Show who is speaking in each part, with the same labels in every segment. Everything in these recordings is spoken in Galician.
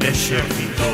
Speaker 1: ejército.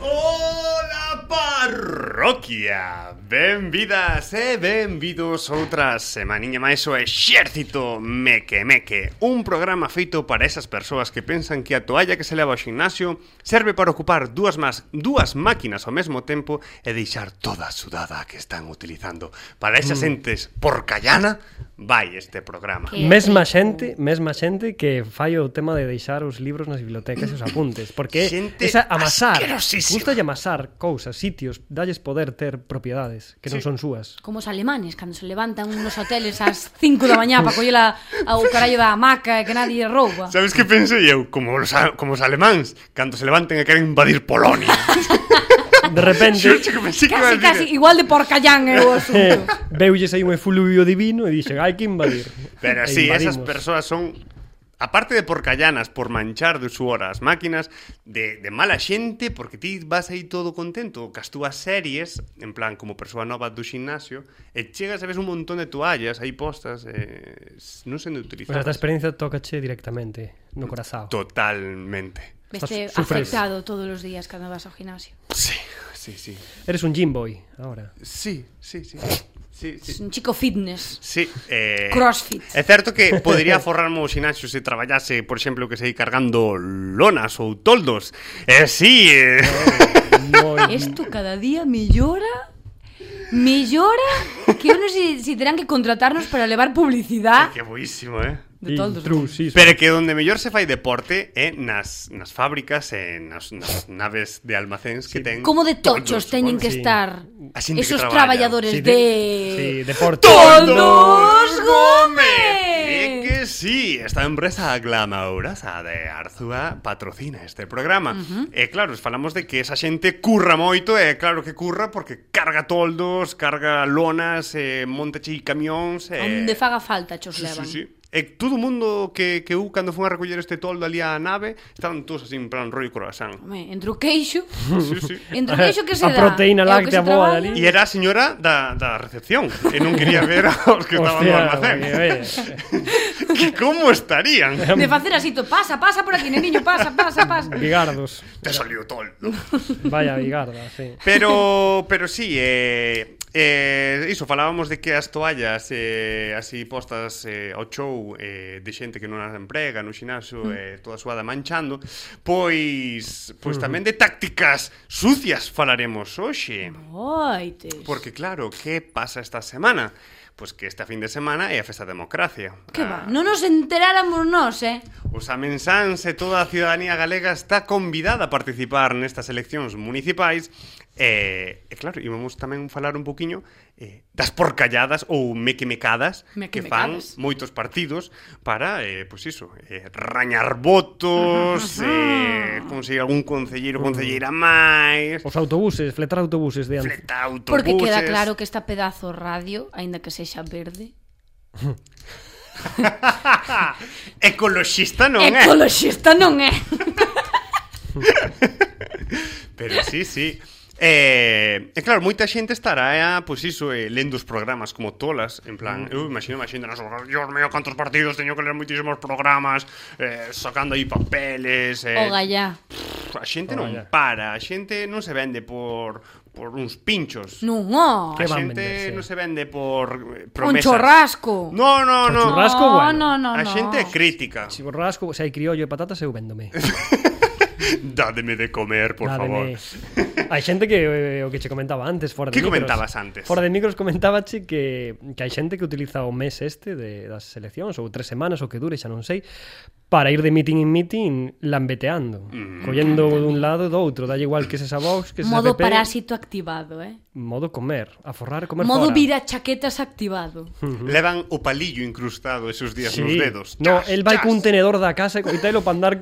Speaker 1: Hola parroquia, benvidas e benvidos outra semaniña máis o Exército Meque Meque Un programa feito para esas persoas que pensan que a toalla que se leva ao gimnasio Serve para ocupar dúas más dúas máquinas ao mesmo tempo E deixar toda a sudada que están utilizando Para esas entes porcallana vai este programa
Speaker 2: Que
Speaker 3: Mesma
Speaker 2: rico.
Speaker 3: xente, mesma xente que fai o tema de deixar os libros nas bibliotecas e os apuntes, porque
Speaker 1: Xente
Speaker 3: esa amasar,
Speaker 1: asquerosísima.
Speaker 3: gustalle amasar cousas, sitios, dalles poder ter propiedades que non son súas.
Speaker 2: Como os alemanes, cando se levantan nos hoteles ás 5 da mañá para collela ao carallo da hamaca e que nadie rouba.
Speaker 1: Sabes que pensei eu? Como os, a- como os alemáns, cando se levanten e queren invadir Polonia
Speaker 3: De repente
Speaker 1: Xuche, que pensei que
Speaker 2: Casi,
Speaker 1: ibas a
Speaker 2: casi,
Speaker 1: decir-
Speaker 2: igual de porcallán é o
Speaker 3: eh,
Speaker 2: asunto.
Speaker 3: veulles aí un efluvio divino e dixen, hai que invadir.
Speaker 1: Pero
Speaker 3: E
Speaker 1: sí, esas
Speaker 3: invadimos.
Speaker 1: persoas son aparte de porcallanas por manchar de suor as máquinas de, de mala xente porque ti vas aí todo contento cas túas series en plan como persoa nova do ximnasio e chegas e ves un montón de toallas aí postas eh, non sendo
Speaker 3: Pois esta
Speaker 1: utilizadas
Speaker 3: experiencia tócache directamente no corazao.
Speaker 1: totalmente
Speaker 2: Veste
Speaker 3: Estás- sufres.
Speaker 2: afectado todos os días cando vas ao gimnasio.
Speaker 1: sí, sí, sí
Speaker 3: Eres un gym boy agora.
Speaker 1: sí, sí, sí sí, sí.
Speaker 2: Es un chico fitness.
Speaker 1: Sí, eh,
Speaker 2: Crossfit.
Speaker 1: É certo que podería forrarme o xinaxo se traballase, por exemplo, que sei cargando lonas ou toldos. Eh, sí, eh,
Speaker 3: Moi
Speaker 2: Isto cada día mellora Mellora que eu non sei se terán que contratarnos para levar publicidade
Speaker 1: que boísimo, eh.
Speaker 2: de todos.
Speaker 3: intrusismo.
Speaker 1: Pero que onde mellor se fai deporte é eh, nas, nas fábricas, e eh, nas, nas naves de almacéns que ten
Speaker 2: Como de tochos teñen que
Speaker 3: sí.
Speaker 2: estar
Speaker 1: A xente que
Speaker 2: esos
Speaker 1: traballa.
Speaker 2: traballadores
Speaker 3: Sí,
Speaker 2: de...
Speaker 3: sí, deporte.
Speaker 2: ¡Toldos Gómez!
Speaker 1: E que sí, esta empresa glamourosa de Arzúa patrocina este programa. Uh -huh. E claro, os falamos de que esa xente curra moito, e claro que curra porque carga toldos, carga lonas, eh, monta chi camións... Eh...
Speaker 2: Onde faga falta chos
Speaker 1: Sí, sí,
Speaker 2: levan.
Speaker 1: sí. E todo o mundo que, que eu, cando fun a recoller este toldo ali á nave, estaban todos así en plan rollo croissant.
Speaker 2: Home, entre o queixo,
Speaker 1: Sí, sí.
Speaker 2: entre o queixo que se
Speaker 3: A
Speaker 2: dá. e o
Speaker 3: proteína
Speaker 2: que se
Speaker 3: láctea boa
Speaker 2: trabaja,
Speaker 3: dali.
Speaker 1: E era a señora da, da recepción E non quería ver aos que estaban no almacén
Speaker 3: porque, oye,
Speaker 1: Que como estarían
Speaker 2: De facer así, to, pasa, pasa por aquí, neniño, pasa, pasa, pasa.
Speaker 3: Vigardos.
Speaker 1: Te salió toldo
Speaker 3: Vaya bigarda, sí.
Speaker 1: Pero, pero sí, eh, eh, iso, falábamos de que as toallas eh, así postas eh, ao show eh, de xente que non as emprega no xinaxo eh, toda suada manchando pois, pois tamén de tácticas sucias falaremos hoxe
Speaker 2: Oites.
Speaker 1: porque claro, que pasa esta semana? Pois que esta fin de semana é a Festa da Democracia
Speaker 2: Que
Speaker 1: Ah,
Speaker 2: va, non nos enteráramos nós, eh?
Speaker 1: Os amensáns e toda a ciudadanía galega está convidada a participar nestas eleccións municipais E, e claro, íbamos tamén falar un poquinho eh, das porcalladas ou mequemecadas que fan
Speaker 2: Mequemecadas.
Speaker 1: moitos partidos para, eh, pois iso, eh, rañar votos, eh, conseguir algún concelleiro ou concelleira máis,
Speaker 3: Os autobuses, fletar autobuses de antes.
Speaker 1: fleta autobuses...
Speaker 2: Porque queda claro que esta pedazo radio, aínda que sexa verde,
Speaker 1: Ecoloxista non é.
Speaker 2: ecoloxista non é.
Speaker 1: Pero sí, sí. Eh, e claro, moita xente estará, eh, pois iso, eh, lendo os programas como tolas, en
Speaker 3: Mm.
Speaker 1: plan, eu imagino a xente nas horas, Dios mío, cantos partidos, teño que ler moitísimos programas, eh, sacando aí papeles, eh,
Speaker 2: O gallá.
Speaker 1: a xente non
Speaker 3: Ogallá.
Speaker 1: para, a xente non se vende por por uns pinchos.
Speaker 2: Non,
Speaker 1: A
Speaker 2: oh. ó.
Speaker 3: Que van
Speaker 1: xente
Speaker 3: vender, sí.
Speaker 1: non se vende por eh,
Speaker 2: Un
Speaker 1: promesas.
Speaker 2: chorrasco.
Speaker 1: No, no,
Speaker 3: O
Speaker 1: no.
Speaker 3: churrasco. Churrasco, bueno.
Speaker 2: No, no,
Speaker 1: a
Speaker 2: no.
Speaker 1: xente é crítica.
Speaker 3: Si borrasco, se hai criollo e patatas, eu véndome.
Speaker 1: Dádeme de comer, por favor.
Speaker 3: Dádeme. Hai xente que eh, o que che comentaba antes fora de
Speaker 1: Que
Speaker 3: micros.
Speaker 1: comentabas antes?
Speaker 3: Fora de micros comentábache que que hai xente que utiliza o mes este de das eleccións ou tres semanas ou que dure, xa non sei, para ir de meeting en meeting lambeteando, mm. collendo dun lado e do outro, dalle igual que se sa Vox, que se
Speaker 2: Modo
Speaker 3: PP,
Speaker 2: parásito activado, eh?
Speaker 3: modo comer, aforrar, comer
Speaker 2: Modo
Speaker 3: fora.
Speaker 2: vira chaquetas activado.
Speaker 1: Levan o palillo incrustado esos días nos dedos.
Speaker 3: No,
Speaker 1: Chas,
Speaker 3: el vai
Speaker 1: chas.
Speaker 3: cun tenedor da casa e coitelo para andar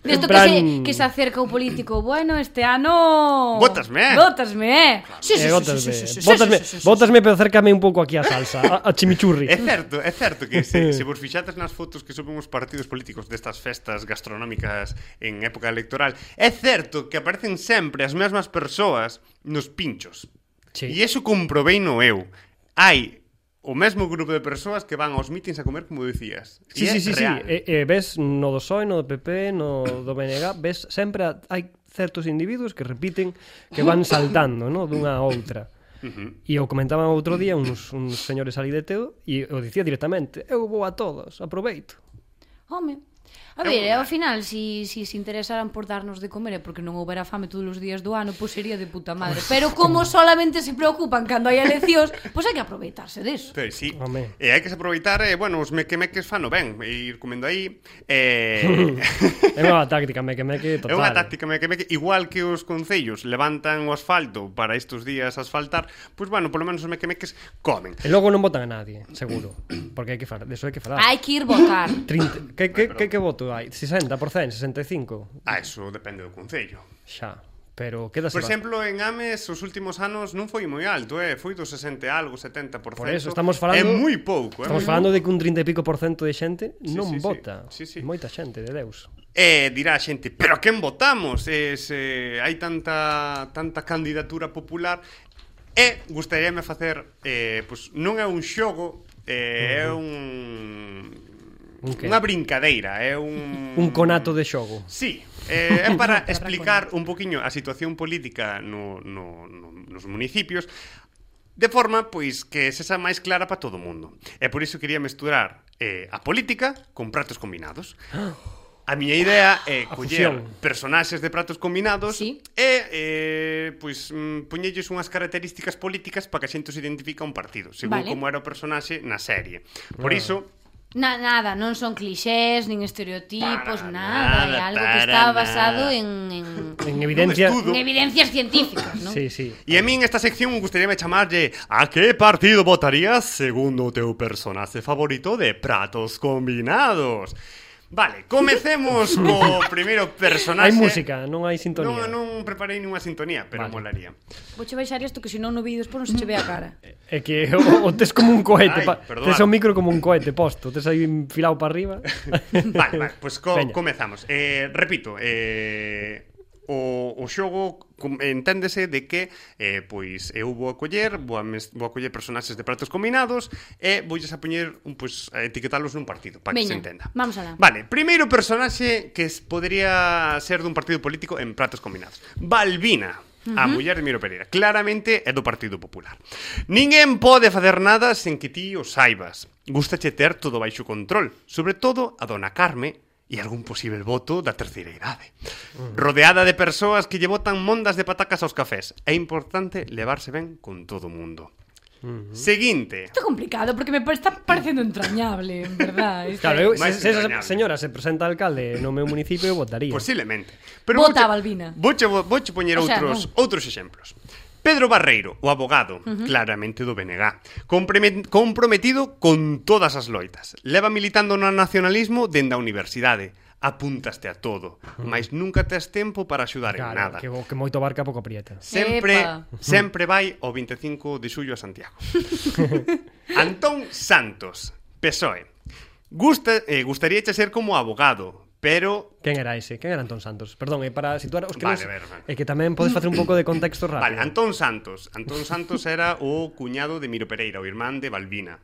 Speaker 2: Desto
Speaker 3: En plan-
Speaker 2: que, se, que se acerca o político Bueno, este ano
Speaker 1: Vótasme.
Speaker 2: Vótasme sí, sí, sí,
Speaker 3: Eh, votasme,
Speaker 2: sí, sí, sí, sí,
Speaker 3: votasme,
Speaker 2: sí, sí, sí, sí.
Speaker 3: votasme, pero acércame un pouco aquí a salsa, a, a chimichurri.
Speaker 1: É certo, é certo que se, se vos fixates nas fotos que suben os partidos políticos destas festas gastronómicas en época electoral, é certo que aparecen sempre as mesmas persoas nos pinchos.
Speaker 3: Sí.
Speaker 1: E eso comprobei no eu. Hai o mesmo grupo de persoas que van aos mítins a comer, como dicías. E
Speaker 3: Sí,
Speaker 1: é
Speaker 3: sí, sí, sí.
Speaker 1: real.
Speaker 3: Eh, eh, ves no do PSOE, no do PP, no do BNG, ves sempre a- hai certos individuos que repiten que van saltando, no, dunha a outra. E o comentaban outro día uns, uns señores ali de Teo e o dicía directamente, eu vou a todos, aproveito.
Speaker 2: Home A ver, eh,
Speaker 1: eh,
Speaker 2: ao final, si, si se interesaran por darnos de comer e porque non houbera fame todos os días do ano, pois sería de puta madre. Pero como solamente se preocupan cando hai eleccións, pois hai que aproveitarse deso.
Speaker 1: Pois sí.
Speaker 3: Home.
Speaker 1: E hai que se aproveitar, eh, bueno, os mequemeques fano ben, e ir comendo aí. Eh,
Speaker 3: É unha táctica meque meque
Speaker 1: É
Speaker 3: total.
Speaker 1: unha táctica me- que me- igual que os concellos levantan o asfalto para estes días asfaltar, pois bueno, polo menos os mequemeques comen.
Speaker 3: E logo non votan a nadie, seguro, porque hai que falar, deso hai que falar.
Speaker 2: Hai que ir votar.
Speaker 3: 30, que, que, que, que voto hai? 60%, 65?
Speaker 1: Ah, eso depende do concello.
Speaker 3: Xa, pero queda
Speaker 1: Por exemplo, en Ames os últimos anos non foi moi alto, eh, foi do 60 e algo, 70%.
Speaker 3: Por eso, estamos falando-
Speaker 1: É moi pouco,
Speaker 3: Estamos
Speaker 1: eh.
Speaker 3: falando de que un 30 e pico por cento de xente
Speaker 1: Sí,
Speaker 3: non
Speaker 1: sí, sí.
Speaker 3: vota.
Speaker 1: Sí, sí.
Speaker 3: Moita xente, de Deus.
Speaker 1: Eh, dirá a xente, pero a quen votamos? Eh, se hai tanta tanta candidatura popular e gustaríame facer eh, pois non é un xogo, eh, é un
Speaker 3: Un que?
Speaker 1: Unha brincadeira, é un
Speaker 3: Un conato de xogo.
Speaker 1: Sí, eh, é para explicar un poquinho a situación política no, no, no, nos municipios de forma pois que se xa máis clara para todo o mundo. E por iso quería mesturar eh, a política con pratos combinados. A miña idea é
Speaker 3: A
Speaker 1: coller
Speaker 3: fusión.
Speaker 1: personaxes de pratos combinados
Speaker 2: Sí.
Speaker 1: e eh, pois mm, poñelles unhas características políticas para que a xente se identifica a un partido, según
Speaker 2: Vale.
Speaker 1: como era o personaxe na serie. Por
Speaker 3: Ah.
Speaker 1: iso,
Speaker 2: Na, nada, non son clixés, nin estereotipos,
Speaker 1: Para nada,
Speaker 2: nada, é algo que
Speaker 1: para
Speaker 2: está basado
Speaker 1: nada.
Speaker 2: en, en,
Speaker 3: En evidencia...
Speaker 1: estudo.
Speaker 2: en evidencias científicas, non?
Speaker 3: Sí, sí.
Speaker 1: E a min esta sección gustaríame chamarlle A que partido votarías segundo o teu personaxe favorito de pratos combinados? Vale, comecemos co primeiro personaxe
Speaker 3: Hai música, non hai
Speaker 1: Non,
Speaker 3: sintonía.
Speaker 1: non preparei ninguna sintonía, pero vale.
Speaker 3: Vale.
Speaker 1: molaría
Speaker 2: Vouche baixar isto que se non no vídeo despois non se che ve a cara.
Speaker 3: É que o, o tes como un
Speaker 1: Ai,
Speaker 3: cohete, pa,
Speaker 1: perdón.
Speaker 3: tes o micro como un cohete posto, tes aí enfilado para arriba.
Speaker 1: Vale, vale, pois co
Speaker 3: Veña.
Speaker 1: comezamos eh, Repito, eh, o, o xogo com- enténdese de que eh, pois eu vou acoller vou, a mes, vou acoller personaxes de pratos combinados e voulles a poñer un, pois, a etiquetalos nun partido para que
Speaker 2: Veña,
Speaker 1: se entenda
Speaker 2: vamos alá.
Speaker 1: Vale, primeiro personaxe que es- podría ser dun partido político en pratos combinados. Balbina. A muller de Miro Pereira Claramente é do Partido Popular Ninguén pode facer nada sen que ti o saibas Gustache ter todo baixo control Sobre todo a dona Carme E algún posible voto da terceira idade Rodeada de persoas que lle botan mondas de patacas aos cafés É importante levarse ben con todo o mundo Seguinte
Speaker 2: Isto é complicado porque me pa- está parecendo entrañable, en verdad. Isto-
Speaker 3: Claro, eu, se,
Speaker 1: Máis
Speaker 3: se esa
Speaker 1: entrañable.
Speaker 3: señora se presenta alcalde no meu municipio, eu votaría.
Speaker 1: Posiblemente. vouche-
Speaker 2: Vota, Balbina.
Speaker 1: Vouche, vouche poñer
Speaker 2: O sea,
Speaker 1: outros, outros exemplos. Pedro Barreiro, o abogado, uh -huh. claramente do BNG, compreme- comprometido con todas as loitas. Leva militando no nacionalismo dende a universidade. Apuntaste a todo, mas nunca tes tempo para axudar en
Speaker 3: Claro,
Speaker 1: nada.
Speaker 3: que, bo- que moito barca pouco aprieta.
Speaker 1: Sempre,
Speaker 2: Epa.
Speaker 1: sempre vai o 25 de xullo a Santiago. Antón Santos, PSOE. Gusta, eh, gustaríache ser como abogado, pero
Speaker 3: Quen era ese? Quen era Antón Santos? Perdón, é para situar os que
Speaker 1: Vale,
Speaker 3: non se-
Speaker 1: ver, vale.
Speaker 3: É que tamén podes facer un pouco de contexto rápido.
Speaker 1: Vale, Antón Santos. Antón Santos era o cuñado de Miro Pereira, o irmán de Balbina.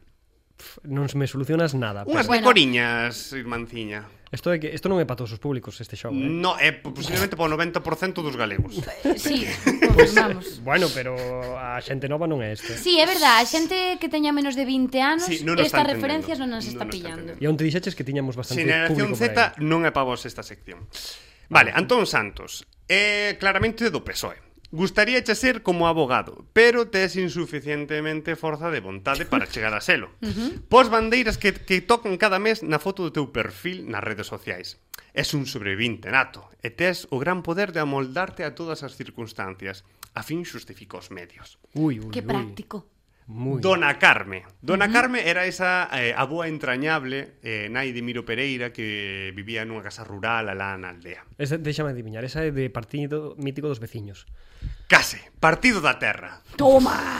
Speaker 3: Non me solucionas nada. pero-
Speaker 1: Unhas
Speaker 2: Bueno.
Speaker 1: pecoriñas, irmanciña.
Speaker 3: Isto é que isto non é para todos os públicos este xogo, eh?
Speaker 1: No, é posiblemente para o 90% dos galegos.
Speaker 2: Sí, confirmamos.
Speaker 3: Bueno, pero a xente nova non é isto.
Speaker 2: Sí, é verdad, a xente que teña menos de 20 anos,
Speaker 1: Sí, non o está entendendo.
Speaker 2: estas referencias non nas
Speaker 1: Non o está
Speaker 2: está pillando.
Speaker 1: entendendo.
Speaker 3: E onte dixeches que tiñamos bastante
Speaker 1: Xeneración
Speaker 3: público Ah. por aí.
Speaker 1: Z non é para vos esta sección. Vale, Antón Santos. É claramente do PSOE. Gustaría che ser como abogado, pero tes insuficientemente forza de vontade para chegar a selo. Uh -huh. Pos bandeiras que, que tocan cada mes na foto do teu perfil nas redes sociais. Es un sobrevivinte nato, e tes o gran poder de amoldarte a todas as circunstancias, a fin xustifica os medios.
Speaker 3: Ui, ui,
Speaker 2: Que
Speaker 3: ui.
Speaker 2: práctico.
Speaker 3: Moi.
Speaker 1: Dona Carme. Dona Carme era esa eh, aboa entrañable, eh, nai de Miro Pereira, que vivía nunha casa rural alá na aldea.
Speaker 3: Esa, déxame adiviñar, esa é de partido mítico dos veciños.
Speaker 1: Case, partido da terra.
Speaker 2: Toma!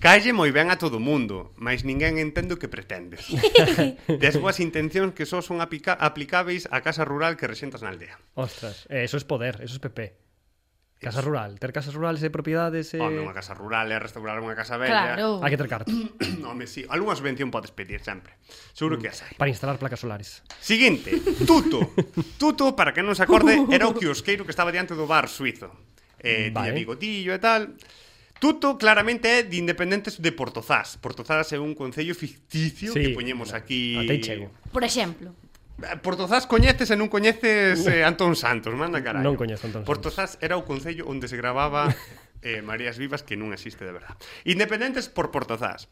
Speaker 1: Calle moi ben a todo mundo, mas ninguén entende o que pretendes. Tes boas intencións que só son aplica aplicáveis á casa rural que rexentas na aldea.
Speaker 3: Ostras, eh, eso es poder, eso es PP. Casa rural, ter casas rurales e propiedades e...
Speaker 1: Home, unha casa rural é restaurar unha casa bella.
Speaker 2: Claro.
Speaker 3: Hai que ter carta
Speaker 1: Home, sí, algunha subvención podes pedir sempre. Seguro que as hai.
Speaker 3: para instalar placas solares.
Speaker 1: Seguinte, Tuto. Tuto, para que non se acorde, era o quiosqueiro que estaba diante do bar suizo. Eh, vale. Tiña
Speaker 3: Vale.
Speaker 1: bigotillo e tal. Tuto claramente é de independentes de Portozás. Portozás é un concello ficticio sí, que
Speaker 3: Sí,
Speaker 1: poñemos
Speaker 3: mira,
Speaker 1: aquí...
Speaker 3: Ate aí chego.
Speaker 2: Por exemplo,
Speaker 1: Eh, Portozás coñeces e non coñeces eh, Antón Santos, manda carallo.
Speaker 3: Non coñezo Antón Santos.
Speaker 1: Portozás era o concello onde se gravaba eh, Marías Vivas que non existe de verdad. Independentes por Portozás.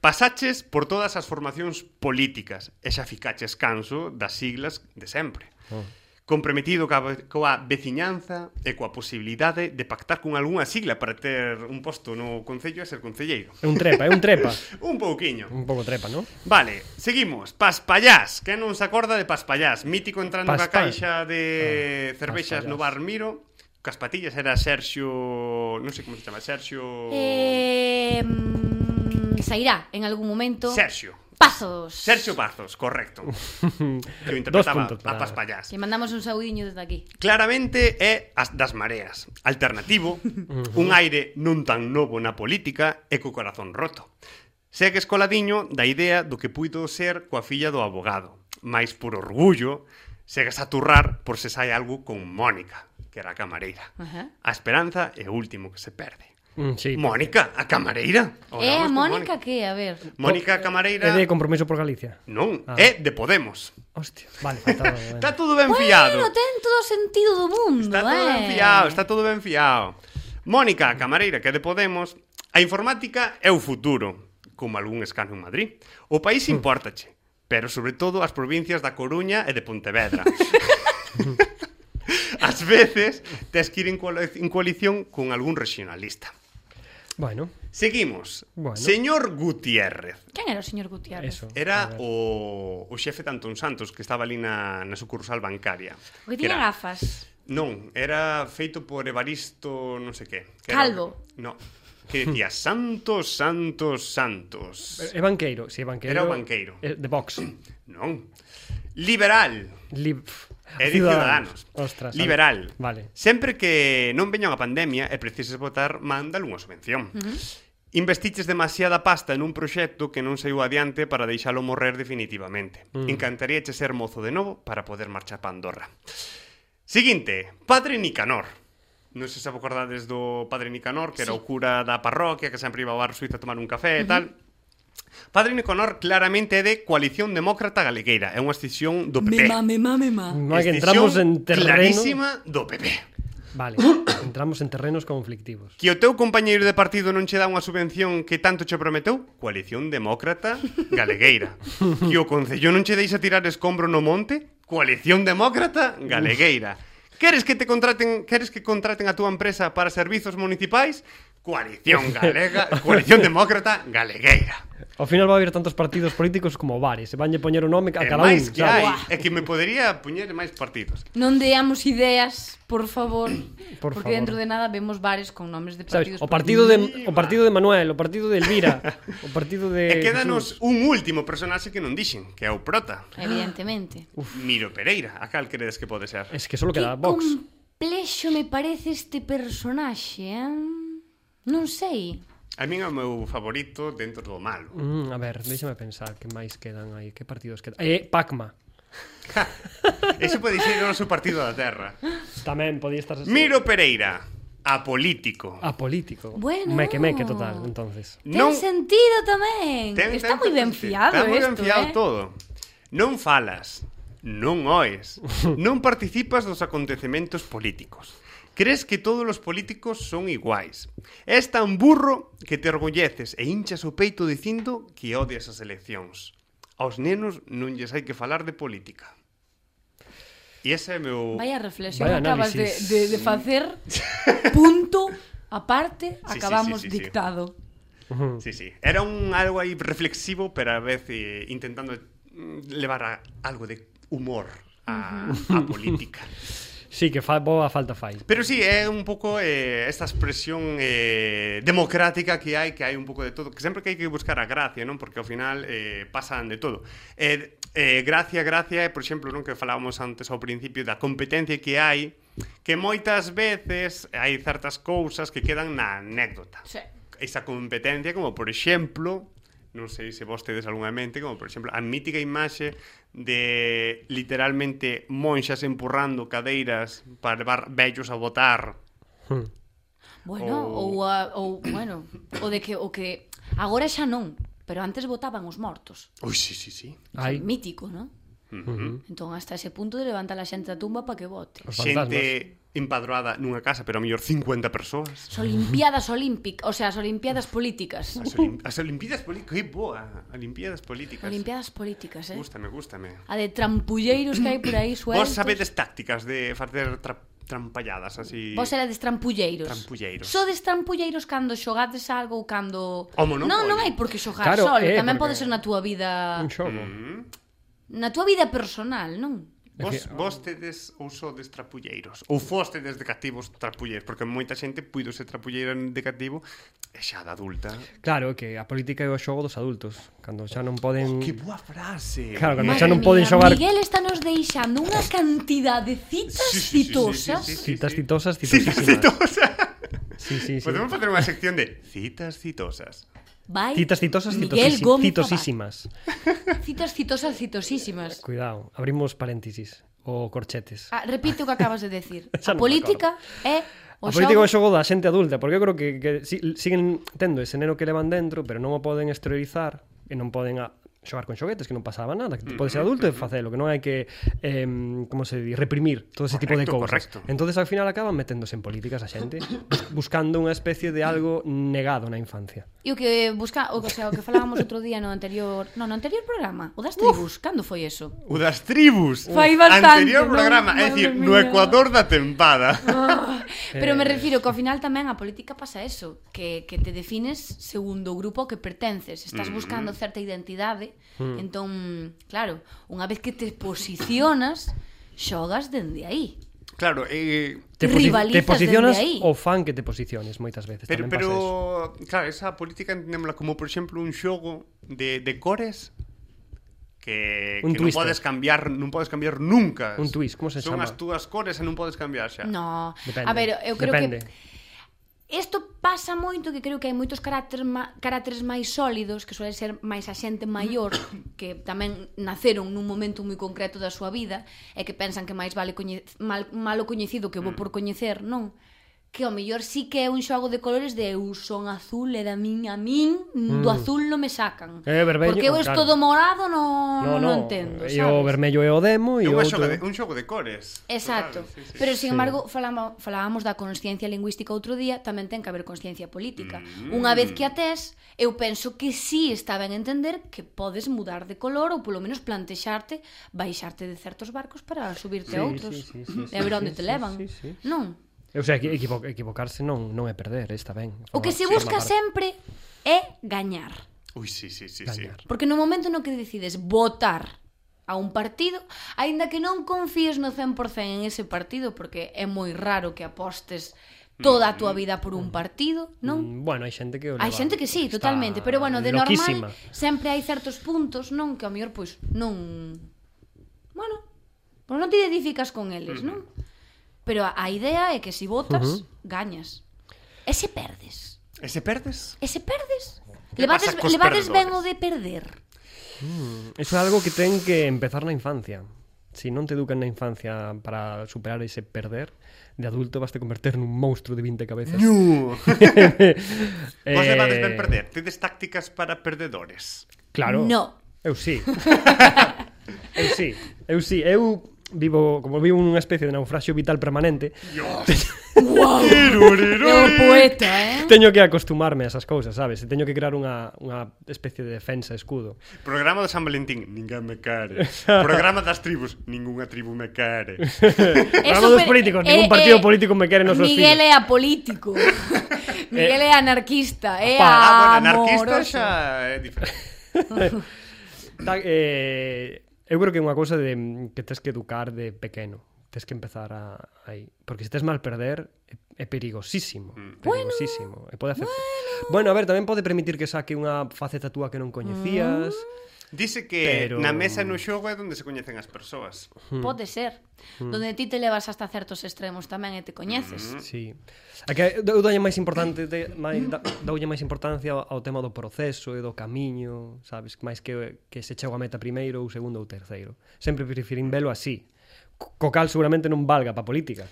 Speaker 1: Pasaches por todas as formacións políticas e xa ficaches canso das siglas de sempre.
Speaker 3: Oh.
Speaker 1: Comprometido coa, ve- coa veciñanza e coa posibilidade de pactar con algunha sigla para ter un posto no concello e ser concelleiro.
Speaker 3: É un trepa, é un trepa.
Speaker 1: Un pouquiño.
Speaker 3: un pouco trepa, non?
Speaker 1: Vale, seguimos. Paspallás, que non se acorda de Paspallás, mítico entrando na
Speaker 3: Paspal.
Speaker 1: caixa de
Speaker 3: Ah,
Speaker 1: cervexas no
Speaker 3: Paspallás.
Speaker 1: bar Miro. Cas patillas era Sergio, non sei como se chama, Sergio
Speaker 2: eh, mm, sairá en algún momento
Speaker 1: Sergio.
Speaker 2: Pazos.
Speaker 1: Sergio Pazos, correcto. Que o
Speaker 3: Dos
Speaker 1: interpretaba
Speaker 3: puntos
Speaker 1: a
Speaker 3: para...
Speaker 1: Paspallás.
Speaker 2: Que mandamos un saudiño desde aquí.
Speaker 1: Claramente é as das mareas. Alternativo, un aire non tan novo na política e co corazón roto. Segue escoladiño da idea do que puido ser coa filla do abogado. Mais por orgullo, segues a turrar por se sai algo con Mónica, que era a camareira.
Speaker 2: Ajá.
Speaker 1: A esperanza é o último que se perde.
Speaker 3: Mm, sí.
Speaker 1: Mónica, a camareira.
Speaker 2: Eh,
Speaker 1: Hablamos
Speaker 2: a
Speaker 1: con
Speaker 2: Mónica que, a ver.
Speaker 1: Mónica a
Speaker 3: É
Speaker 1: Camareira...
Speaker 3: de compromiso por Galicia.
Speaker 1: Non,
Speaker 3: Ah.
Speaker 1: é de Podemos.
Speaker 3: Hostia, vale, faltaba...
Speaker 1: Está
Speaker 3: bueno.
Speaker 1: todo ben fiado.
Speaker 2: Bueno, ten todo o sentido do mundo,
Speaker 1: Está todo
Speaker 2: eh.
Speaker 1: ben fiado, está todo ben fiado. Mónica, a camareira que é de Podemos, a informática é o futuro, como algún escano en Madrid. O país
Speaker 3: Hmm.
Speaker 1: impórtache, pero sobre todo as provincias da Coruña e de Pontevedra. Ás veces tes que ir en coali- en coalición con algún regionalista.
Speaker 3: bueno,
Speaker 1: Seguimos.
Speaker 3: Bueno.
Speaker 1: Señor Gutiérrez.
Speaker 2: Quen era o señor Gutiérrez?
Speaker 3: eso.
Speaker 1: Era
Speaker 3: a ver.
Speaker 1: o, o xefe de Antón Santos que estaba ali na, na sucursal bancaria.
Speaker 2: O que tiña
Speaker 1: era-
Speaker 2: gafas.
Speaker 1: Non, era feito por Evaristo non sei que. que
Speaker 2: Calvo.
Speaker 1: Era... No, que decía Santos, Santos, Santos.
Speaker 3: É banqueiro, sí, é banqueiro.
Speaker 1: Era o banqueiro.
Speaker 3: É Eh, de Vox.
Speaker 1: Non. Liberal.
Speaker 3: Lib...
Speaker 1: É de Ciudadanos.
Speaker 3: Ostras.
Speaker 1: Liberal.
Speaker 3: Vale.
Speaker 1: Sempre que non veña unha pandemia e precises votar, manda algunha subvención. Uh -huh. Investiches demasiada pasta en un proxecto que non saiu adiante para deixalo morrer definitivamente. Mm. Encantaríache ser mozo de novo para poder marchar pa Andorra. Seguinte, Padre Nicanor. Non sei se vos acordades do Padre Nicanor, que era
Speaker 2: Sí.
Speaker 1: o cura da parroquia, que sempre iba ao bar suizo a tomar un café e tal. Padre Nicanor claramente é de Coalición Demócrata Galegueira, é unha escisión do PP.
Speaker 2: Me ma, me ma, me ma.
Speaker 3: Non é que
Speaker 1: Extinción
Speaker 3: entramos en terreno...
Speaker 1: clarísima do PP.
Speaker 3: Vale, entramos en terrenos conflictivos.
Speaker 1: Que o teu compañeiro de partido non che dá unha subvención que tanto che prometeu? Coalición Demócrata Galegueira. Que o Concello non che deixa tirar escombro no monte? Coalición Demócrata Galegueira. Queres que te contraten, queres que contraten a túa empresa para servizos municipais? Coalición Galega, Coalición Demócrata Galegueira.
Speaker 3: Ao final va a haber tantos partidos políticos como bares, e vanlle poñer o nome a
Speaker 1: É
Speaker 3: cada un,
Speaker 1: máis que hai,
Speaker 3: sabes?
Speaker 1: é que me podería puñer máis partidos.
Speaker 2: Non deamos ideas, por favor,
Speaker 3: Por
Speaker 2: porque
Speaker 3: favor.
Speaker 2: dentro de nada vemos bares con nomes de partidos.
Speaker 3: Sabes, o partido de o partido de Manuel, o partido de Elvira, o partido
Speaker 1: E
Speaker 3: de
Speaker 1: quédanos un último personaxe que non dixen, que é o prota.
Speaker 2: políticos, Evidentemente.
Speaker 3: Ah.
Speaker 1: Miro Pereira, a cal credes que pode ser?
Speaker 3: Es que solo
Speaker 2: Que
Speaker 3: queda Vox.
Speaker 2: complexo me parece este personaxe, eh? Non sei.
Speaker 1: A min é o meu favorito dentro do malo.
Speaker 3: Mm, a ver, déxame pensar que máis quedan aí, que partidos quedan. Eh, Pacma.
Speaker 1: Ese pode ser o noso partido da terra.
Speaker 3: Tamén podía estar
Speaker 1: Miro Pereira, apolítico.
Speaker 3: apolítico.
Speaker 2: Bueno.
Speaker 3: Meque meque total, entonces.
Speaker 2: Ten sentido tamén.
Speaker 1: ten-
Speaker 2: Mm, Está
Speaker 1: ten-
Speaker 2: moi ben fiado
Speaker 1: Está moi ben
Speaker 2: esto,
Speaker 1: fiado
Speaker 2: eh?
Speaker 1: todo. Non falas, non oes, non participas dos acontecementos políticos. Crees que todos os políticos son iguais. És tan burro que te orgulleces e hinchas o peito dicindo que odias as eleccións. Aos nenos non lles hai que falar de política. E ese é meu...
Speaker 2: Vaya reflexión
Speaker 3: Vaya
Speaker 2: acabas de,
Speaker 3: análisis.
Speaker 2: de, de facer. Punto. Aparte,
Speaker 1: sí,
Speaker 2: acabamos
Speaker 1: sí, sí, sí.
Speaker 2: dictado.
Speaker 3: Ujú.
Speaker 1: Sí, sí. Era un algo aí reflexivo, pero a vez eh, intentando mm, levar a, algo de humor a, a política.
Speaker 3: Sí, que fa, boa falta fai.
Speaker 1: Pero sí, é un pouco eh, esta expresión eh, democrática que hai, que hai un pouco de todo, que sempre que hai que buscar a gracia, non? Porque ao final eh, pasan de todo. Eh, eh, gracia, gracia, é, por exemplo, non que falábamos antes ao principio da competencia que hai, que moitas veces hai certas cousas que quedan na anécdota.
Speaker 2: Sí.
Speaker 1: Esa competencia, como por exemplo, non sei se vos tedes algunha en mente, como por exemplo a mítica imaxe de literalmente monxas empurrando cadeiras para levar vellos a votar.
Speaker 3: Hm.
Speaker 2: Bueno,
Speaker 1: Ou-
Speaker 2: ou, a, ou bueno, o de que o que agora xa non, pero antes votaban os mortos.
Speaker 1: Ui, sí, sí, sí.
Speaker 3: Ai,
Speaker 2: Mítico, non?
Speaker 1: Uh -huh.
Speaker 2: Entón, hasta ese punto de levanta a xente da tumba para que vote.
Speaker 3: Os
Speaker 1: Xente empadroada nunha casa, pero a mellor 50 persoas.
Speaker 2: As Olimpiadas Olímpicas, o sea, as Olimpiadas Políticas.
Speaker 1: As, olim as Olimpiadas Políticas, que boa, Olimpiadas Políticas.
Speaker 2: Olimpiadas Políticas, eh?
Speaker 1: Gústame, gústame.
Speaker 2: A de trampulleiros que hai por aí
Speaker 1: Vos
Speaker 2: sueltos.
Speaker 1: sabedes tácticas de facer tra trampalladas así.
Speaker 2: Vos eres trampulleiros.
Speaker 1: Trampulleiros.
Speaker 2: Sodes trampulleiros cando xogades algo ou cando...
Speaker 1: O Monopoly.
Speaker 2: Non, non hai por que xogar
Speaker 3: Claro,
Speaker 2: claro, solo.
Speaker 3: eh,
Speaker 2: Tamén
Speaker 3: porque-
Speaker 2: pode ser na túa vida...
Speaker 3: un xogo.
Speaker 1: Mm.
Speaker 2: Na túa vida personal, non?
Speaker 1: Vos,
Speaker 3: ah.
Speaker 1: vos tedes ou sodes trapulleiros Ou foste desde cativos trapulleiros Porque moita xente puido ser trapulleira de cativo E xa da adulta
Speaker 3: Claro, que a política é o xogo dos adultos, cando xa non
Speaker 1: Oh,
Speaker 3: poden
Speaker 1: Que boa frase
Speaker 3: Claro, cando
Speaker 2: Madre
Speaker 3: xa non
Speaker 2: mía,
Speaker 3: poden xogar
Speaker 2: Miguel está nos deixando unha cantidad de citas
Speaker 1: Sí, sí, sí,
Speaker 2: citosas.
Speaker 1: sí, sí, sí.
Speaker 3: citas citosas,
Speaker 1: Citas
Speaker 3: citosísimas.
Speaker 1: citosas
Speaker 3: Sí, sí, sí.
Speaker 1: Podemos facer unha sección de Citas citosas
Speaker 2: Vai,
Speaker 3: Citas citosas,
Speaker 2: Miguel
Speaker 3: citosis-
Speaker 2: Gómez
Speaker 3: citosísimas.
Speaker 2: Abad. Citas citosas citosísimas.
Speaker 3: Cuidado, abrimos paréntesis o corchetes.
Speaker 2: Ah, repite o que acabas de decir. A
Speaker 3: Xa non me
Speaker 2: política é o
Speaker 3: A política é o
Speaker 2: xogo.
Speaker 3: xogo da xente adulta, porque eu creo que, que si, siguen tendo ese neno que levan dentro, pero non o poden exteriorizar e non poden a, xogar con xoguetes, que non pasaba nada, que tú podes ser
Speaker 1: Mm-hmm,
Speaker 3: adulto e facelo, que non hai que, eh, como se di, reprimir todo ese tipo de
Speaker 1: Correcto,
Speaker 3: cousas.
Speaker 1: correcto.
Speaker 3: Entonces al final acaban meténdose en políticas a xente, bus- buscando unha especie de algo negado na infancia.
Speaker 2: E o que busca, o que, o sea, o que falábamos outro día no anterior, no, no anterior programa, o das tribus, cando foi eso?
Speaker 1: O das tribus
Speaker 2: Fai bastante,
Speaker 1: Anterior
Speaker 2: non?
Speaker 1: programa É
Speaker 2: Madre
Speaker 1: dicir, no
Speaker 2: mía. Ah.
Speaker 1: Ecuador da tempada
Speaker 2: Pero
Speaker 3: Eh,
Speaker 2: me refiro que ao final tamén a política pasa eso, que, que te defines segundo o grupo ao que pertences, estás buscando certa identidade,
Speaker 3: Hmm.
Speaker 2: entón, claro, unha vez que te posicionas, xogas dende aí.
Speaker 1: Claro, eh,
Speaker 3: Te, posi-
Speaker 2: Rivalizas
Speaker 3: te posicionas
Speaker 2: dende aí.
Speaker 3: o fan que te posiciones moitas veces.
Speaker 1: Pero,
Speaker 3: tamén pasa eso.
Speaker 1: pero claro, esa política entendémosla como, por exemplo, un xogo de, de cores que,
Speaker 3: Un
Speaker 1: que non
Speaker 3: twister.
Speaker 1: podes cambiar, non podes cambiar nunca.
Speaker 3: Un twist, como se
Speaker 1: Son
Speaker 3: chama?
Speaker 1: as túas cores e non podes cambiar xa.
Speaker 2: No,
Speaker 3: Depende.
Speaker 2: a ver, eu creo
Speaker 3: Depende.
Speaker 2: que Isto pasa moito que creo que hai moitos carácter ma, carácteres máis sólidos que suelen ser máis a xente maior que tamén naceron nun momento moi concreto da súa vida e que pensan que máis vale coñe, mal, malo coñecido que bo
Speaker 3: Mm.
Speaker 2: por coñecer, non? Que ao mellor sí que é un xogo de colores de eu son azul e da min a min do azul non me sacan.
Speaker 3: Mm. É vermello,
Speaker 2: Porque eu
Speaker 3: claro.
Speaker 2: estou do morado non no, no, entendo,
Speaker 3: e
Speaker 2: sabes?
Speaker 3: o vermello é o demo
Speaker 1: É
Speaker 3: e o
Speaker 1: un xogo,
Speaker 3: outro...
Speaker 1: de, un xogo de cores.
Speaker 2: Exacto.
Speaker 1: Total, sí, sí.
Speaker 2: Pero sin
Speaker 3: Sí.
Speaker 2: embargo, falama, falábamos da consciencia lingüística outro día, tamén ten que haber consciencia política. Mm. Unha vez que a tes, eu penso que sí está ben entender que podes mudar de color ou polo menos plantexarte, baixarte de certos barcos para subirte
Speaker 3: Sí,
Speaker 2: a outros.
Speaker 3: sí, sí, sí, sí,
Speaker 2: e ver onde
Speaker 3: sí,
Speaker 2: te
Speaker 3: sí,
Speaker 2: levan.
Speaker 3: sí, sí.
Speaker 2: Non.
Speaker 3: O sea, equi- equivo- equivocarse non, non é perder, está ben.
Speaker 2: O que se
Speaker 3: Forma-
Speaker 2: busca
Speaker 3: forma parte.
Speaker 2: sempre é gañar.
Speaker 1: Ui, sí, sí, sí, sí.
Speaker 3: Gañar.
Speaker 2: Porque no momento no que decides votar a un partido, aínda que non confíes no 100% en ese partido, porque é moi raro que apostes toda a túa vida por un partido, non?
Speaker 3: Mm, Bueno, hai xente que o
Speaker 2: Hai
Speaker 3: leva-
Speaker 2: xente que sí,
Speaker 3: está
Speaker 2: totalmente, pero bueno, de
Speaker 3: loquísima.
Speaker 2: normal sempre hai certos puntos, non, que ao mellor pois non bueno, pois non te identificas con eles, non?
Speaker 3: Mm.
Speaker 2: Pero a, a idea é que se si votas, gañas. E se perdes?
Speaker 1: E se perdes?
Speaker 2: E se perdes?
Speaker 1: Que
Speaker 2: Levades,
Speaker 1: pasa cos
Speaker 2: levades ben o
Speaker 1: perdedores?
Speaker 2: de perder.
Speaker 3: Eso é algo que ten que empezar na infancia. Si non te educan na infancia para superar ese perder, de adulto vas te converter nun monstruo de 20 cabezas.
Speaker 1: No.
Speaker 3: Eh,
Speaker 1: Vos levades ben perder. Tedes tácticas para perdedores.
Speaker 3: Claro.
Speaker 2: No.
Speaker 3: Eu sí. eu sí. Eu sí. Eu vivo, como vivo unha especie de naufraxio vital permanente,
Speaker 2: Oh. É o poeta, eh?
Speaker 3: teño que acostumarme a esas cousas, sabes? E teño que crear unha, unha especie de defensa escudo.
Speaker 1: Programa do San Valentín, ninguén me care. Programa das tribus, ningunha tribu me care.
Speaker 2: É
Speaker 3: Programa dos políticos, ningún partido político me quere nos seus
Speaker 2: eh, Miguel
Speaker 3: filhos. Eh,
Speaker 2: é apolítico. Miguel é anarquista, eh, é
Speaker 1: Ah, bueno,
Speaker 2: amoroso.
Speaker 1: anarquista xa é diferente.
Speaker 3: Ta- eh, eu creo que é unha cousa de mm, que tes que educar de pequeno. Tes que empezar a aí, porque se tes mal perder é, é perigosísimo, perigosísimo. Mm. Bueno, e pode hacer Bueno, a ver, tamén pode permitir que saque unha faceta túa que non coñecías.
Speaker 1: Dice que
Speaker 3: Pero-
Speaker 1: na mesa e no xogo é onde se coñecen as persoas.
Speaker 3: Hmm.
Speaker 2: Pode ser. Donde ti te levas hasta certos extremos tamén e te coñeces.
Speaker 1: Hmm.
Speaker 3: Sí. A que eu doulle máis importante de, máis, da- doulle máis importancia ao- ao tema do proceso e do camiño, sabes, máis que que se chega a meta primeiro ou segundo ou terceiro. Sempre preferín velo así. Co co cal seguramente non valga pa política.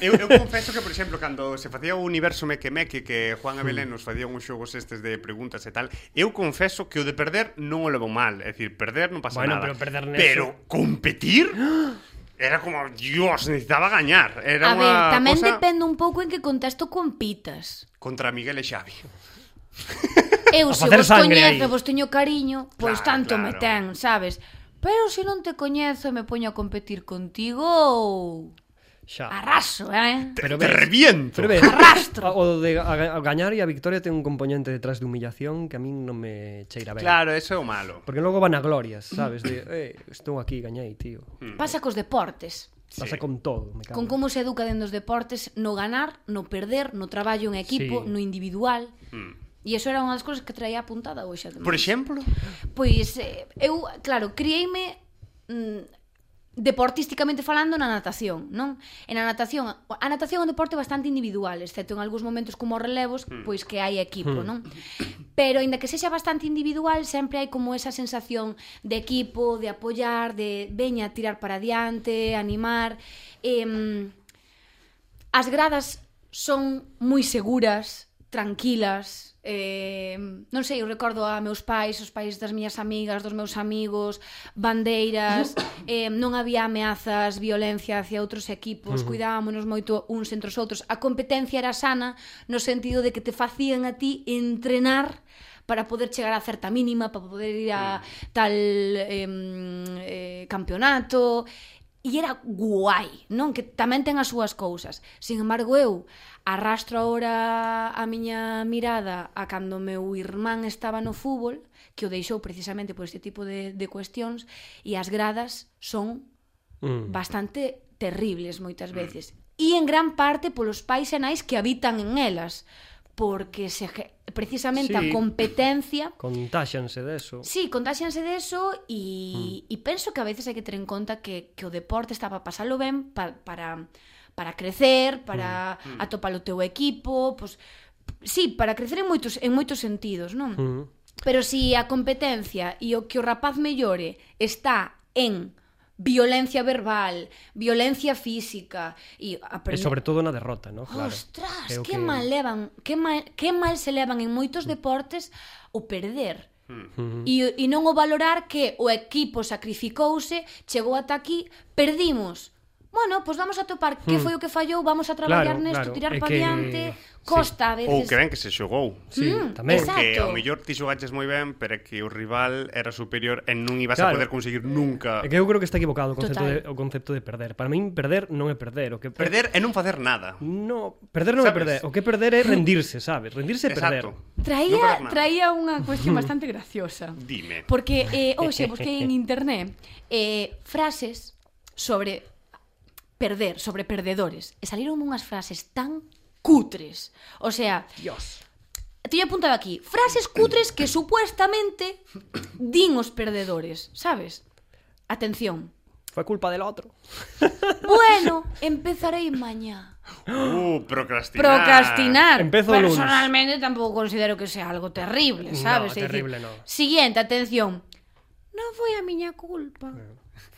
Speaker 1: Eu, eu confeso que, por exemplo, cando se facía o universo Meque Meque que Juan e Belén nos facían uns xogos estes de preguntas e tal, eu confeso que o de perder non o levo mal, é dicir, perder non pasa
Speaker 3: Bueno,
Speaker 1: nada.
Speaker 3: pero perder neso-
Speaker 1: Pero competir era como, dios, necesitaba gañar. Era
Speaker 2: A ver,
Speaker 1: unha
Speaker 2: tamén
Speaker 1: cosa
Speaker 2: depende un pouco en que contexto compitas.
Speaker 1: contra Miguel e Xavi.
Speaker 2: Eu
Speaker 3: A
Speaker 2: se
Speaker 3: facer
Speaker 2: vos
Speaker 3: sangre
Speaker 2: coñezo,
Speaker 3: aí.
Speaker 2: vos teño cariño, pois
Speaker 1: Claro,
Speaker 2: tanto me
Speaker 1: claro.
Speaker 2: ten, sabes? Pero se non te coñezo e me poño a competir contigo,
Speaker 3: Xa.
Speaker 2: arraso, eh?
Speaker 3: Pero
Speaker 1: Ah. Te
Speaker 3: ves-
Speaker 1: reviento.
Speaker 3: Pero ves,
Speaker 2: Arrastro.
Speaker 3: O de a, ga- a gañar e a victoria ten un componente detrás de humillación que a min non me cheira ben.
Speaker 1: Claro, eso é o malo.
Speaker 3: Porque logo van a glorias, sabes? De, eh, estou aquí, gañei, tío.
Speaker 2: Pasa cos deportes.
Speaker 3: Pasa con todo, me cago.
Speaker 2: Con como se educa dentro dos deportes no ganar, no perder, no traballo en equipo,
Speaker 3: Sí.
Speaker 2: no individual.
Speaker 1: Mm.
Speaker 2: E iso era unha das cousas que traía apuntada hoxe. ademais.
Speaker 1: Por exemplo,
Speaker 2: Pois eh, eu, claro, criei-me mm, deportísticamente falando na natación, non? E na natación, a natación é un deporte bastante individual, excepto en algúns momentos como os relevos, pois que hai equipo, non? Pero aínda que sexa bastante individual, sempre hai como esa sensación de equipo, de apoiar, de veña tirar para adiante, animar. Em, as gradas son moi seguras, tranquilas, eh, non sei, eu recordo a meus pais, os pais das miñas amigas, dos meus amigos, bandeiras, eh, non había ameazas, violencia hacia outros equipos, cuidámonos moito uns entre os outros. A competencia era sana no sentido de que te facían a ti entrenar para poder chegar a certa mínima, para poder ir a tal eh, eh, campeonato, E era guai, non? Que tamén ten as súas cousas. Sin embargo, eu arrastro agora a miña mirada a cando meu irmán estaba no fútbol, que o deixou precisamente por este tipo de, de cuestións, e as gradas son
Speaker 3: Mm.
Speaker 2: bastante terribles moitas veces. E en gran parte polos pais e nais que habitan en elas, porque se, ge- precisamente a
Speaker 3: Sí.
Speaker 2: competencia
Speaker 3: Contáxanse deso.
Speaker 2: Sí, contáxense deso
Speaker 3: Mm.
Speaker 2: e, e penso que a veces hai que ter en conta que, que o deporte está para pasalo ben, pa, para para crecer, para
Speaker 3: Mm,
Speaker 2: atopar o teu equipo, pois sí, para crecer en moitos en moitos sentidos, non?
Speaker 3: Mm.
Speaker 2: Pero se a competencia e o que o rapaz mellore está en violencia verbal, violencia física e
Speaker 3: E sobre todo na derrota, ¿no? Claro.
Speaker 2: Ostras,
Speaker 3: É o
Speaker 2: que, mal levan, que mal, que mal se levan en moitos deportes o perder.
Speaker 3: Mm.
Speaker 2: E, e non o valorar que o equipo sacrificouse, chegou ata aquí, perdimos. Bueno, pois vamos a topar que foi o que fallou, vamos a traballar
Speaker 3: Hmm. Claro,
Speaker 2: nesto,
Speaker 3: claro,
Speaker 2: tirar
Speaker 3: é
Speaker 2: para
Speaker 3: que-
Speaker 2: diante,
Speaker 3: sí.
Speaker 2: costa a
Speaker 1: ou
Speaker 2: veces.
Speaker 1: creen Oh, que se xogou.
Speaker 3: Sí,
Speaker 2: Mm,
Speaker 3: tamén.
Speaker 2: exacto.
Speaker 1: Que ao mellor ti xogaches moi ben, pero é que o rival era superior e non ibas a
Speaker 3: Claro.
Speaker 1: poder conseguir nunca.
Speaker 3: É que eu creo que está equivocado o concepto,
Speaker 2: Total.
Speaker 3: de, o concepto de perder. Para min perder non é perder, o que
Speaker 1: Perder e non facer nada.
Speaker 3: No, perder non é
Speaker 1: Sabes?
Speaker 3: perder. O que é perder é rendirse, sabes? Rendirse é perder.
Speaker 1: Exacto. Non
Speaker 2: Traía,
Speaker 1: parar nada.
Speaker 2: traía unha cuestión bastante graciosa.
Speaker 1: Dime.
Speaker 2: Porque eh, hoxe busquei en internet eh, frases sobre perder, sobre perdedores. E saliron unhas frases tan cutres. O sea,
Speaker 3: Dios.
Speaker 2: teño apuntado aquí, frases cutres que supuestamente din os perdedores, sabes? Atención.
Speaker 3: Foi culpa del outro.
Speaker 2: Bueno, empezarei mañá.
Speaker 1: Uh, procrastinar.
Speaker 2: Procrastinar.
Speaker 3: Empezo o lunes.
Speaker 2: Personalmente tampouco considero que sea algo terrible,
Speaker 3: No,
Speaker 2: sabes? É dicir,
Speaker 3: terrible no.
Speaker 2: Siguiente, atención. Non foi a miña culpa.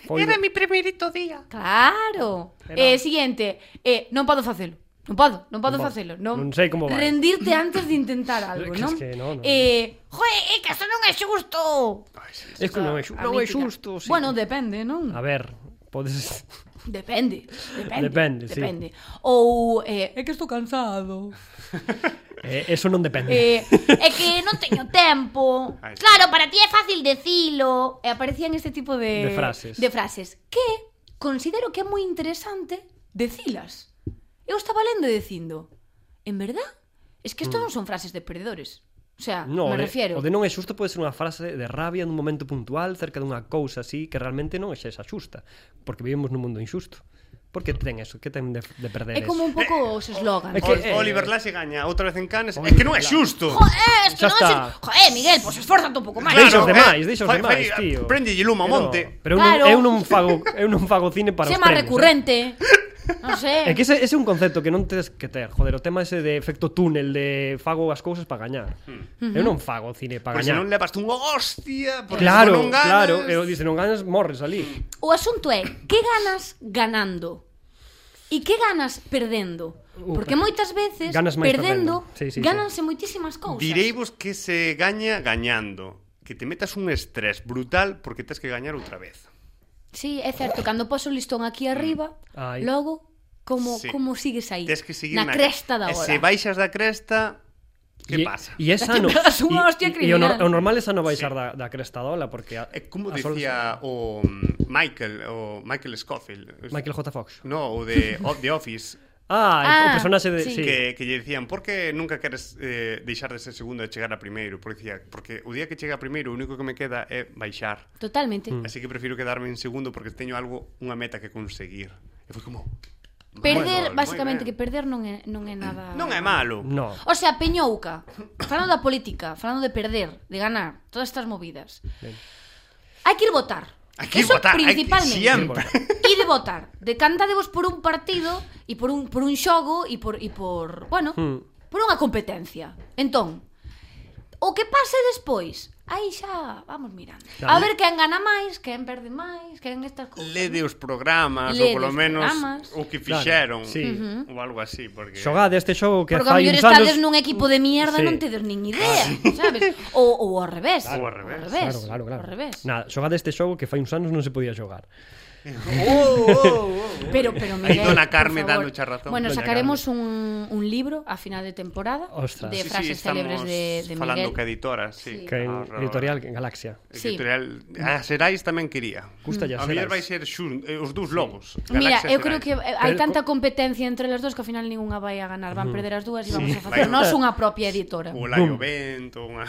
Speaker 3: Foi
Speaker 1: mi primeirito día.
Speaker 2: Claro.
Speaker 3: Pero-
Speaker 2: Eh, siguiente, eh, non podo facelo. Non podo, non podo
Speaker 3: Non podo.
Speaker 2: facelo. Non,
Speaker 3: Non sei como vai.
Speaker 2: Rendirte antes de intentar algo,
Speaker 3: Que es
Speaker 2: non?
Speaker 3: que no, no.
Speaker 2: Eh, joe, é que isto non é xusto.
Speaker 3: É que non é, xu...
Speaker 2: A
Speaker 3: non é
Speaker 2: mítica.
Speaker 3: xusto. Sí.
Speaker 2: Bueno, depende, non?
Speaker 3: A ver, podes...
Speaker 2: Depende, depende.
Speaker 3: Depende, sí.
Speaker 2: depende. Ou eh, é que estou cansado.
Speaker 3: Eh, eso non depende.
Speaker 2: Eh, é que non teño tempo.
Speaker 1: Ahí está.
Speaker 2: Claro, para ti é fácil decilo. E aparecían este tipo de
Speaker 3: De frases.
Speaker 2: de frases que considero que é moi interesante decilas. Eu estaba lendo e dicindo, en verdad, Es que isto non son frases de perdedores. O sea,
Speaker 3: Mm. No,
Speaker 2: me
Speaker 3: o de-
Speaker 2: refiero.
Speaker 3: O de non é xusto pode ser unha frase de rabia nun momento puntual cerca dunha cousa así que realmente non é xa esa xusta, porque vivimos nun mundo injusto. Por que ten eso? Que ten de, de perder
Speaker 2: É como un
Speaker 3: eso?
Speaker 2: pouco os eslogans.
Speaker 3: É Eh, que-
Speaker 2: eh.
Speaker 1: O- Oliver Lasse gaña outra vez en Cannes. É
Speaker 3: Oliver
Speaker 1: que non é
Speaker 3: Lasse.
Speaker 1: xusto.
Speaker 2: Jo, eh, es que
Speaker 3: Xa
Speaker 2: non
Speaker 3: está.
Speaker 2: es... Jo, eh, Miguel, pois pues esforzate un pouco máis.
Speaker 3: Deixa os
Speaker 1: Claro,
Speaker 3: demais,
Speaker 1: eh,
Speaker 3: deixa os
Speaker 1: fai-
Speaker 3: demais,
Speaker 1: fai-
Speaker 3: tío.
Speaker 1: préndelle luma ao monte.
Speaker 3: Pero eu
Speaker 2: Claro.
Speaker 3: non, eu non fago, eu non fago cine para
Speaker 2: Sé
Speaker 3: os
Speaker 2: máis
Speaker 3: premios. eh.
Speaker 2: recurrente. Non sei.
Speaker 3: É que ese, ese é un concepto que non tes que ter Joder, o tema ese de efecto túnel De fago as cousas para gañar
Speaker 2: Hmm.
Speaker 3: Eu non fago cine para
Speaker 2: Pois
Speaker 1: Porque se non
Speaker 3: gañar
Speaker 1: levaste unha hostia, porque
Speaker 3: Claro,
Speaker 1: se non ganas,
Speaker 3: claro Eu dice, non ganas, morres ali
Speaker 2: O asunto é, que ganas ganando? E que ganas perdendo? Porque moitas veces
Speaker 3: Ganas máis
Speaker 2: perdendo,
Speaker 3: perdendo. Sí, sí, sí.
Speaker 2: gananse moitísimas cousas.
Speaker 1: Direivos que se gaña gañando, que te metas un estrés brutal porque tes que gañar outra vez.
Speaker 2: Sí, é certo, cando poso o listón aquí arriba,
Speaker 3: Ai.
Speaker 2: logo como
Speaker 1: Sí.
Speaker 2: como sigues aí?
Speaker 1: Tes que seguir
Speaker 2: na, cresta
Speaker 1: E
Speaker 2: da hora.
Speaker 1: se baixas da cresta, que
Speaker 3: E-
Speaker 1: pasa?
Speaker 3: E é sano
Speaker 2: pegas unha hostia
Speaker 3: E, e o, nor-
Speaker 2: criminal.
Speaker 3: o normal é sano baixar da, da cresta dola Porque a,
Speaker 1: É Eh, como
Speaker 3: as horas-
Speaker 1: dicía o mm, Michael, o Michael Scofield.
Speaker 3: Michael J. Fox
Speaker 1: No, o de o The Office,
Speaker 3: Ah, ah
Speaker 2: Ah,
Speaker 3: o personaxe de...
Speaker 2: sí.
Speaker 3: Sí.
Speaker 1: que, que lle dicían por que nunca queres eh, deixar de ser segundo e chegar a primeiro? Porque, dicía, porque o día que chega a primeiro o único que me queda é baixar.
Speaker 2: Totalmente.
Speaker 3: Mm.
Speaker 1: Así que prefiro quedarme en segundo porque teño algo, unha meta que conseguir. E foi como...
Speaker 2: Perder,
Speaker 1: moi ben,
Speaker 2: basicamente
Speaker 1: moi
Speaker 2: que
Speaker 1: ben.
Speaker 2: perder non é non é nada.
Speaker 1: Non é malo.
Speaker 3: No
Speaker 2: O sea, Peñouca, falando da política, falando de perder, de ganar, todas estas movidas.
Speaker 3: Ben.
Speaker 2: Hai que ir votar.
Speaker 1: Hai que ir
Speaker 2: Eso
Speaker 1: votar, hai que-
Speaker 2: principalmente.
Speaker 1: siempre.
Speaker 2: Ir votar. Decantadevos por un partido e por un por un xogo e por e por, bueno,
Speaker 3: Hmm.
Speaker 2: por unha competencia. Entón, o que pase despois, aí xa vamos mirando.
Speaker 3: Claro.
Speaker 2: A ver quen gana máis, quen perde máis, quen estas cousas.
Speaker 1: Lede os programas,
Speaker 2: Lede
Speaker 1: ou polo
Speaker 2: os
Speaker 1: menos
Speaker 2: programas.
Speaker 1: o que fixeron,
Speaker 3: Claro, sí.
Speaker 1: ou algo así, porque...
Speaker 3: Xogade este xogo que
Speaker 2: Porque a
Speaker 3: fai
Speaker 2: mellor
Speaker 3: uns
Speaker 2: estades
Speaker 3: anos
Speaker 2: nun equipo de mierda
Speaker 3: Sí.
Speaker 2: sí.
Speaker 3: Ah,
Speaker 2: non tedes nin idea, sabes? Ou, ou ao revés.
Speaker 1: Claro, ao revés.
Speaker 3: Claro, claro, claro.
Speaker 2: Ao revés.
Speaker 3: Nada, xogade este xogo que fai uns anos non se podía xogar.
Speaker 1: Oh, oh, oh.
Speaker 2: Pero, pero
Speaker 1: Aí
Speaker 2: Miguel,
Speaker 1: dona
Speaker 2: por
Speaker 1: Carme
Speaker 2: favor.
Speaker 1: dándoche a razón.
Speaker 2: Bueno,
Speaker 3: Doña
Speaker 2: sacaremos un, un libro a final de temporada
Speaker 3: Ostras.
Speaker 2: de
Speaker 3: Sí,
Speaker 2: frases
Speaker 1: estamos
Speaker 2: célebres de, de
Speaker 1: falando
Speaker 2: Miguel.
Speaker 1: que editora, sí.
Speaker 2: Sí.
Speaker 3: Que en
Speaker 1: Horror.
Speaker 3: editorial en Galaxia.
Speaker 2: Sí.
Speaker 1: Editorial a Serais tamén quería.
Speaker 3: Gusta ya
Speaker 1: a mellor vai
Speaker 3: Serais.
Speaker 1: ser xun, eh, os dous lobos.
Speaker 2: Mira,
Speaker 1: Galaxia
Speaker 2: eu creo que
Speaker 1: Serais.
Speaker 2: eh, hai
Speaker 3: Pero-
Speaker 2: tanta competencia entre las dos que ao final ningunha vai a ganar, van perder as dúas e vamos a
Speaker 1: Vai-
Speaker 2: facer nós unha propia editora.
Speaker 1: O Laio Vento, unha...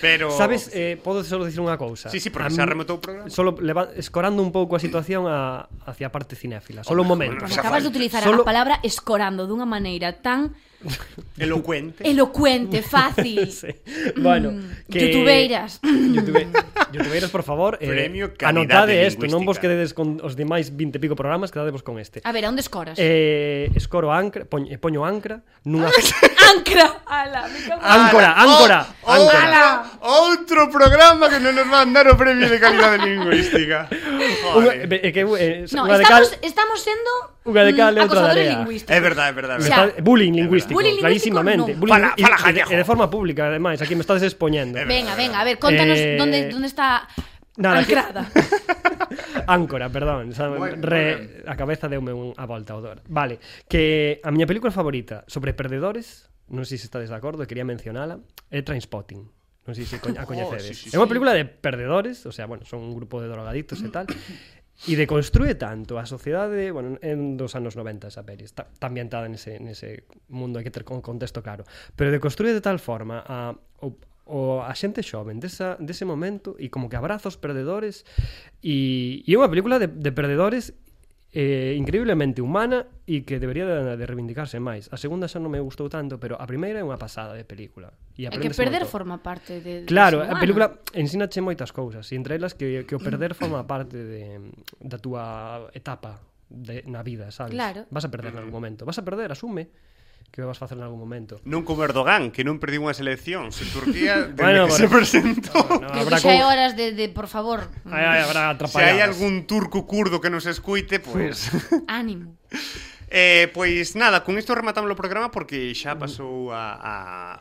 Speaker 1: Pero...
Speaker 3: Sabes, eh, podo solo dicir unha cousa.
Speaker 1: Sí, sí, porque
Speaker 3: A
Speaker 1: xa
Speaker 3: mí-
Speaker 1: remontou o programa.
Speaker 3: Solo leva, escorando un pouco a situación a, hacia a parte cinéfila. Solo un
Speaker 1: Hombre,
Speaker 3: momento.
Speaker 1: bueno,
Speaker 2: Pois
Speaker 1: xa
Speaker 2: acabas
Speaker 1: falta.
Speaker 2: de utilizar
Speaker 3: Solo-
Speaker 2: a palabra escorando dunha maneira tan
Speaker 1: Elocuente.
Speaker 2: elocuente, fácil.
Speaker 3: Sí. Bueno,
Speaker 2: Mm,
Speaker 3: que...
Speaker 2: Youtubeiras.
Speaker 3: Youtube...
Speaker 2: Mm.
Speaker 3: Youtubeiras, por favor, eh,
Speaker 1: Premio calidade
Speaker 3: anotade esto, non vos
Speaker 1: lingüística.
Speaker 3: quededes con os demais 20 e pico programas, quedadevos con este.
Speaker 2: A ver, a onde escoras?
Speaker 3: Eh, escoro ancra, poño, poño ancra nunha
Speaker 2: Ancra. Ala, me cago. en-
Speaker 3: áncora, áncora,
Speaker 1: Oh,
Speaker 3: áncora.
Speaker 1: oh, outro programa que non nos van dar o premio de calidade lingüística.
Speaker 3: Unha,
Speaker 1: Joder.
Speaker 3: eh, que, eh,
Speaker 2: No,
Speaker 3: unha de cal-
Speaker 2: estamos, estamos sendo
Speaker 3: Unha de cal e
Speaker 2: mm,
Speaker 3: outra de
Speaker 2: acosadores
Speaker 3: area.
Speaker 2: lingüísticos.
Speaker 1: É verdade, é verdade. é
Speaker 3: Me
Speaker 2: O sea,
Speaker 1: verdade.
Speaker 3: está- bullying lingüístico,
Speaker 2: Bullying lingüístico,
Speaker 3: clarísimamente.
Speaker 2: non.
Speaker 3: Bullying
Speaker 1: Fala-
Speaker 3: y-
Speaker 1: fala,
Speaker 3: y de-
Speaker 1: Janejo.
Speaker 3: e de forma pública, ademais, aquí me estás expoñendo.
Speaker 2: Venga, venga, a ver, contanos
Speaker 3: Eh,
Speaker 2: dónde, dónde está
Speaker 3: nada, que-
Speaker 2: ancrada.
Speaker 3: Áncora, perdón, xa,
Speaker 1: Moi-
Speaker 3: re, a cabeza deume un, a volta ao dor. Vale, que a miña película favorita sobre perdedores, non sei se estades de acordo, quería mencionala, é Trainspotting. Non sei se coña- a
Speaker 1: Oh,
Speaker 3: coñecedes.
Speaker 1: sí, sí,
Speaker 3: é unha película de perdedores, o sea, bueno, son un grupo de drogadictos e tal. E deconstrúe tanto a sociedade, bueno, en dos anos 90 esa peli, está, está ambientada nese, nese mundo, hai que ter con contexto claro, pero deconstrúe de tal forma a, o, o a xente xoven desa, dese momento e como que abraza os perdedores e, e é unha película de, de perdedores eh, increíblemente humana e que debería de, de reivindicarse máis. A segunda xa non me gustou tanto, pero a primeira é unha pasada de película. E
Speaker 2: É que
Speaker 3: aprendes
Speaker 2: perder
Speaker 3: moito.
Speaker 2: forma parte de de
Speaker 3: Claro,
Speaker 2: ser
Speaker 3: a
Speaker 2: humano.
Speaker 3: película ensínache moitas cousas, e entre elas que, que o perder forma parte de, da túa etapa de, na vida, sabes?
Speaker 2: Claro.
Speaker 3: Vas a perder en algún momento. Vas a perder, asume que o vas a facer en algún momento.
Speaker 1: Non como Erdogan, que non perdiu unha selección. Se Turquía, desde
Speaker 3: Bueno,
Speaker 1: que se
Speaker 3: bueno.
Speaker 1: presentou...
Speaker 3: No,
Speaker 2: Creo que xa hai horas de, de por favor,
Speaker 3: Ay, ay, habrá
Speaker 1: Se hai
Speaker 3: atrapalladas.
Speaker 1: algún turco curdo que nos escuite, pois... Pues...
Speaker 2: ánimo.
Speaker 1: Eh, pois nada, con isto rematamos o programa porque xa pasou a,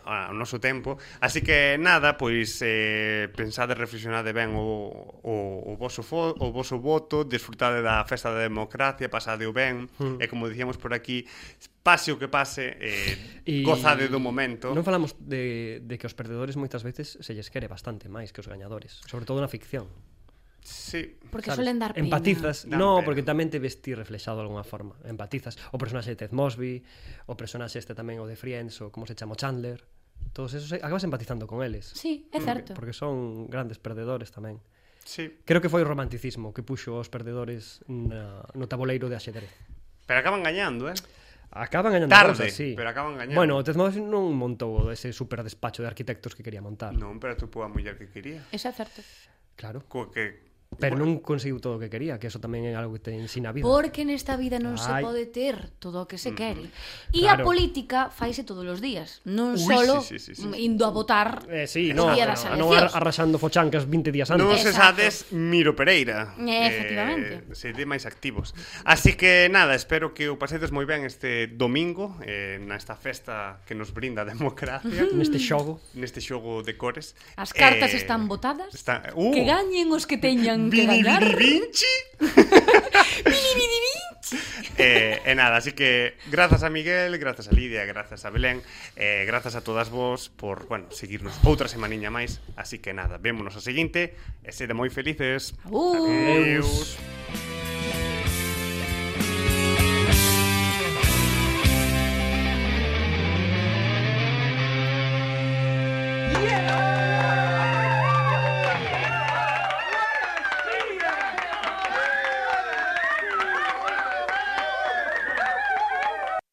Speaker 1: a, a noso tempo Así que nada, pois eh, pensade, reflexionade ben o, o, o, voso fo, o voso voto Desfrutade da festa da democracia, pasade o ben
Speaker 3: Hmm.
Speaker 1: E como dicíamos por aquí, pase o que pase, eh,
Speaker 3: E-
Speaker 1: gozade do momento
Speaker 3: Non falamos de, de que os perdedores moitas veces se lles quere bastante máis que os gañadores, sobre todo na ficción.
Speaker 1: Sí.
Speaker 2: Porque
Speaker 3: sabes?
Speaker 2: suelen dar pena.
Speaker 3: Empatizas.
Speaker 1: Dan
Speaker 3: no,
Speaker 1: pena.
Speaker 3: porque tamén te vestí reflexado de alguna forma. Empatizas. O personaxe de Ted Mosby, o personaxe este tamén o de Friends, o como se chama o Chandler. Todos esos eh, acabas empatizando con eles.
Speaker 2: Sí, é certo.
Speaker 3: Porque son grandes perdedores tamén.
Speaker 1: Sí.
Speaker 3: Creo que foi o romanticismo que puxo os perdedores na, no tabuleiro de ajedrez.
Speaker 1: Pero acaban gañando, eh?
Speaker 3: Acaban gañando
Speaker 1: Tarde,
Speaker 3: cosas, sí.
Speaker 1: pero acaban gañando.
Speaker 3: Bueno, o Ted Mosby non montou ese super despacho de arquitectos que quería montar.
Speaker 1: Non, pero tú a muller que quería.
Speaker 2: Eso é certo.
Speaker 3: Claro.
Speaker 1: Co que...
Speaker 3: Pero non conseguiu todo o que quería, que eso tamén é algo que te ensina a vida.
Speaker 2: Porque nesta vida non se
Speaker 3: Ai. Mm.
Speaker 2: pode ter todo o que se quere. E a
Speaker 3: Claro.
Speaker 2: política faise todos os días, non
Speaker 1: Ui,
Speaker 2: solo
Speaker 1: sí, sí, sí, sí.
Speaker 2: indo a votar.
Speaker 3: Eh, sí,
Speaker 2: o
Speaker 3: no,
Speaker 2: día
Speaker 3: pero
Speaker 2: das
Speaker 3: a non ar-
Speaker 2: eleccións.
Speaker 3: arrasando fochancas 20 días antes.
Speaker 1: Non
Speaker 2: Exacto.
Speaker 1: se sades Miro Pereira
Speaker 2: Eh, efectivamente.
Speaker 1: eh, Se de máis activos Así que nada, espero que o pasedes moi ben este domingo eh, Nesta festa que nos brinda a democracia
Speaker 3: Neste xogo.
Speaker 1: Neste xogo de cores Eh,
Speaker 2: As cartas
Speaker 3: eh,
Speaker 2: están botadas.
Speaker 1: está... uh,
Speaker 2: Que gañen os que teñan que
Speaker 1: Vini,
Speaker 2: gañar.
Speaker 1: Vini Vinci Eh, e nada, así que grazas a Miguel, grazas a Lidia, grazas a Belén, eh, grazas a todas vos por, bueno, seguirnos outra semaniña máis. Así que nada, vémonos a seguinte e sede moi felices. Adeus.
Speaker 2: Aús.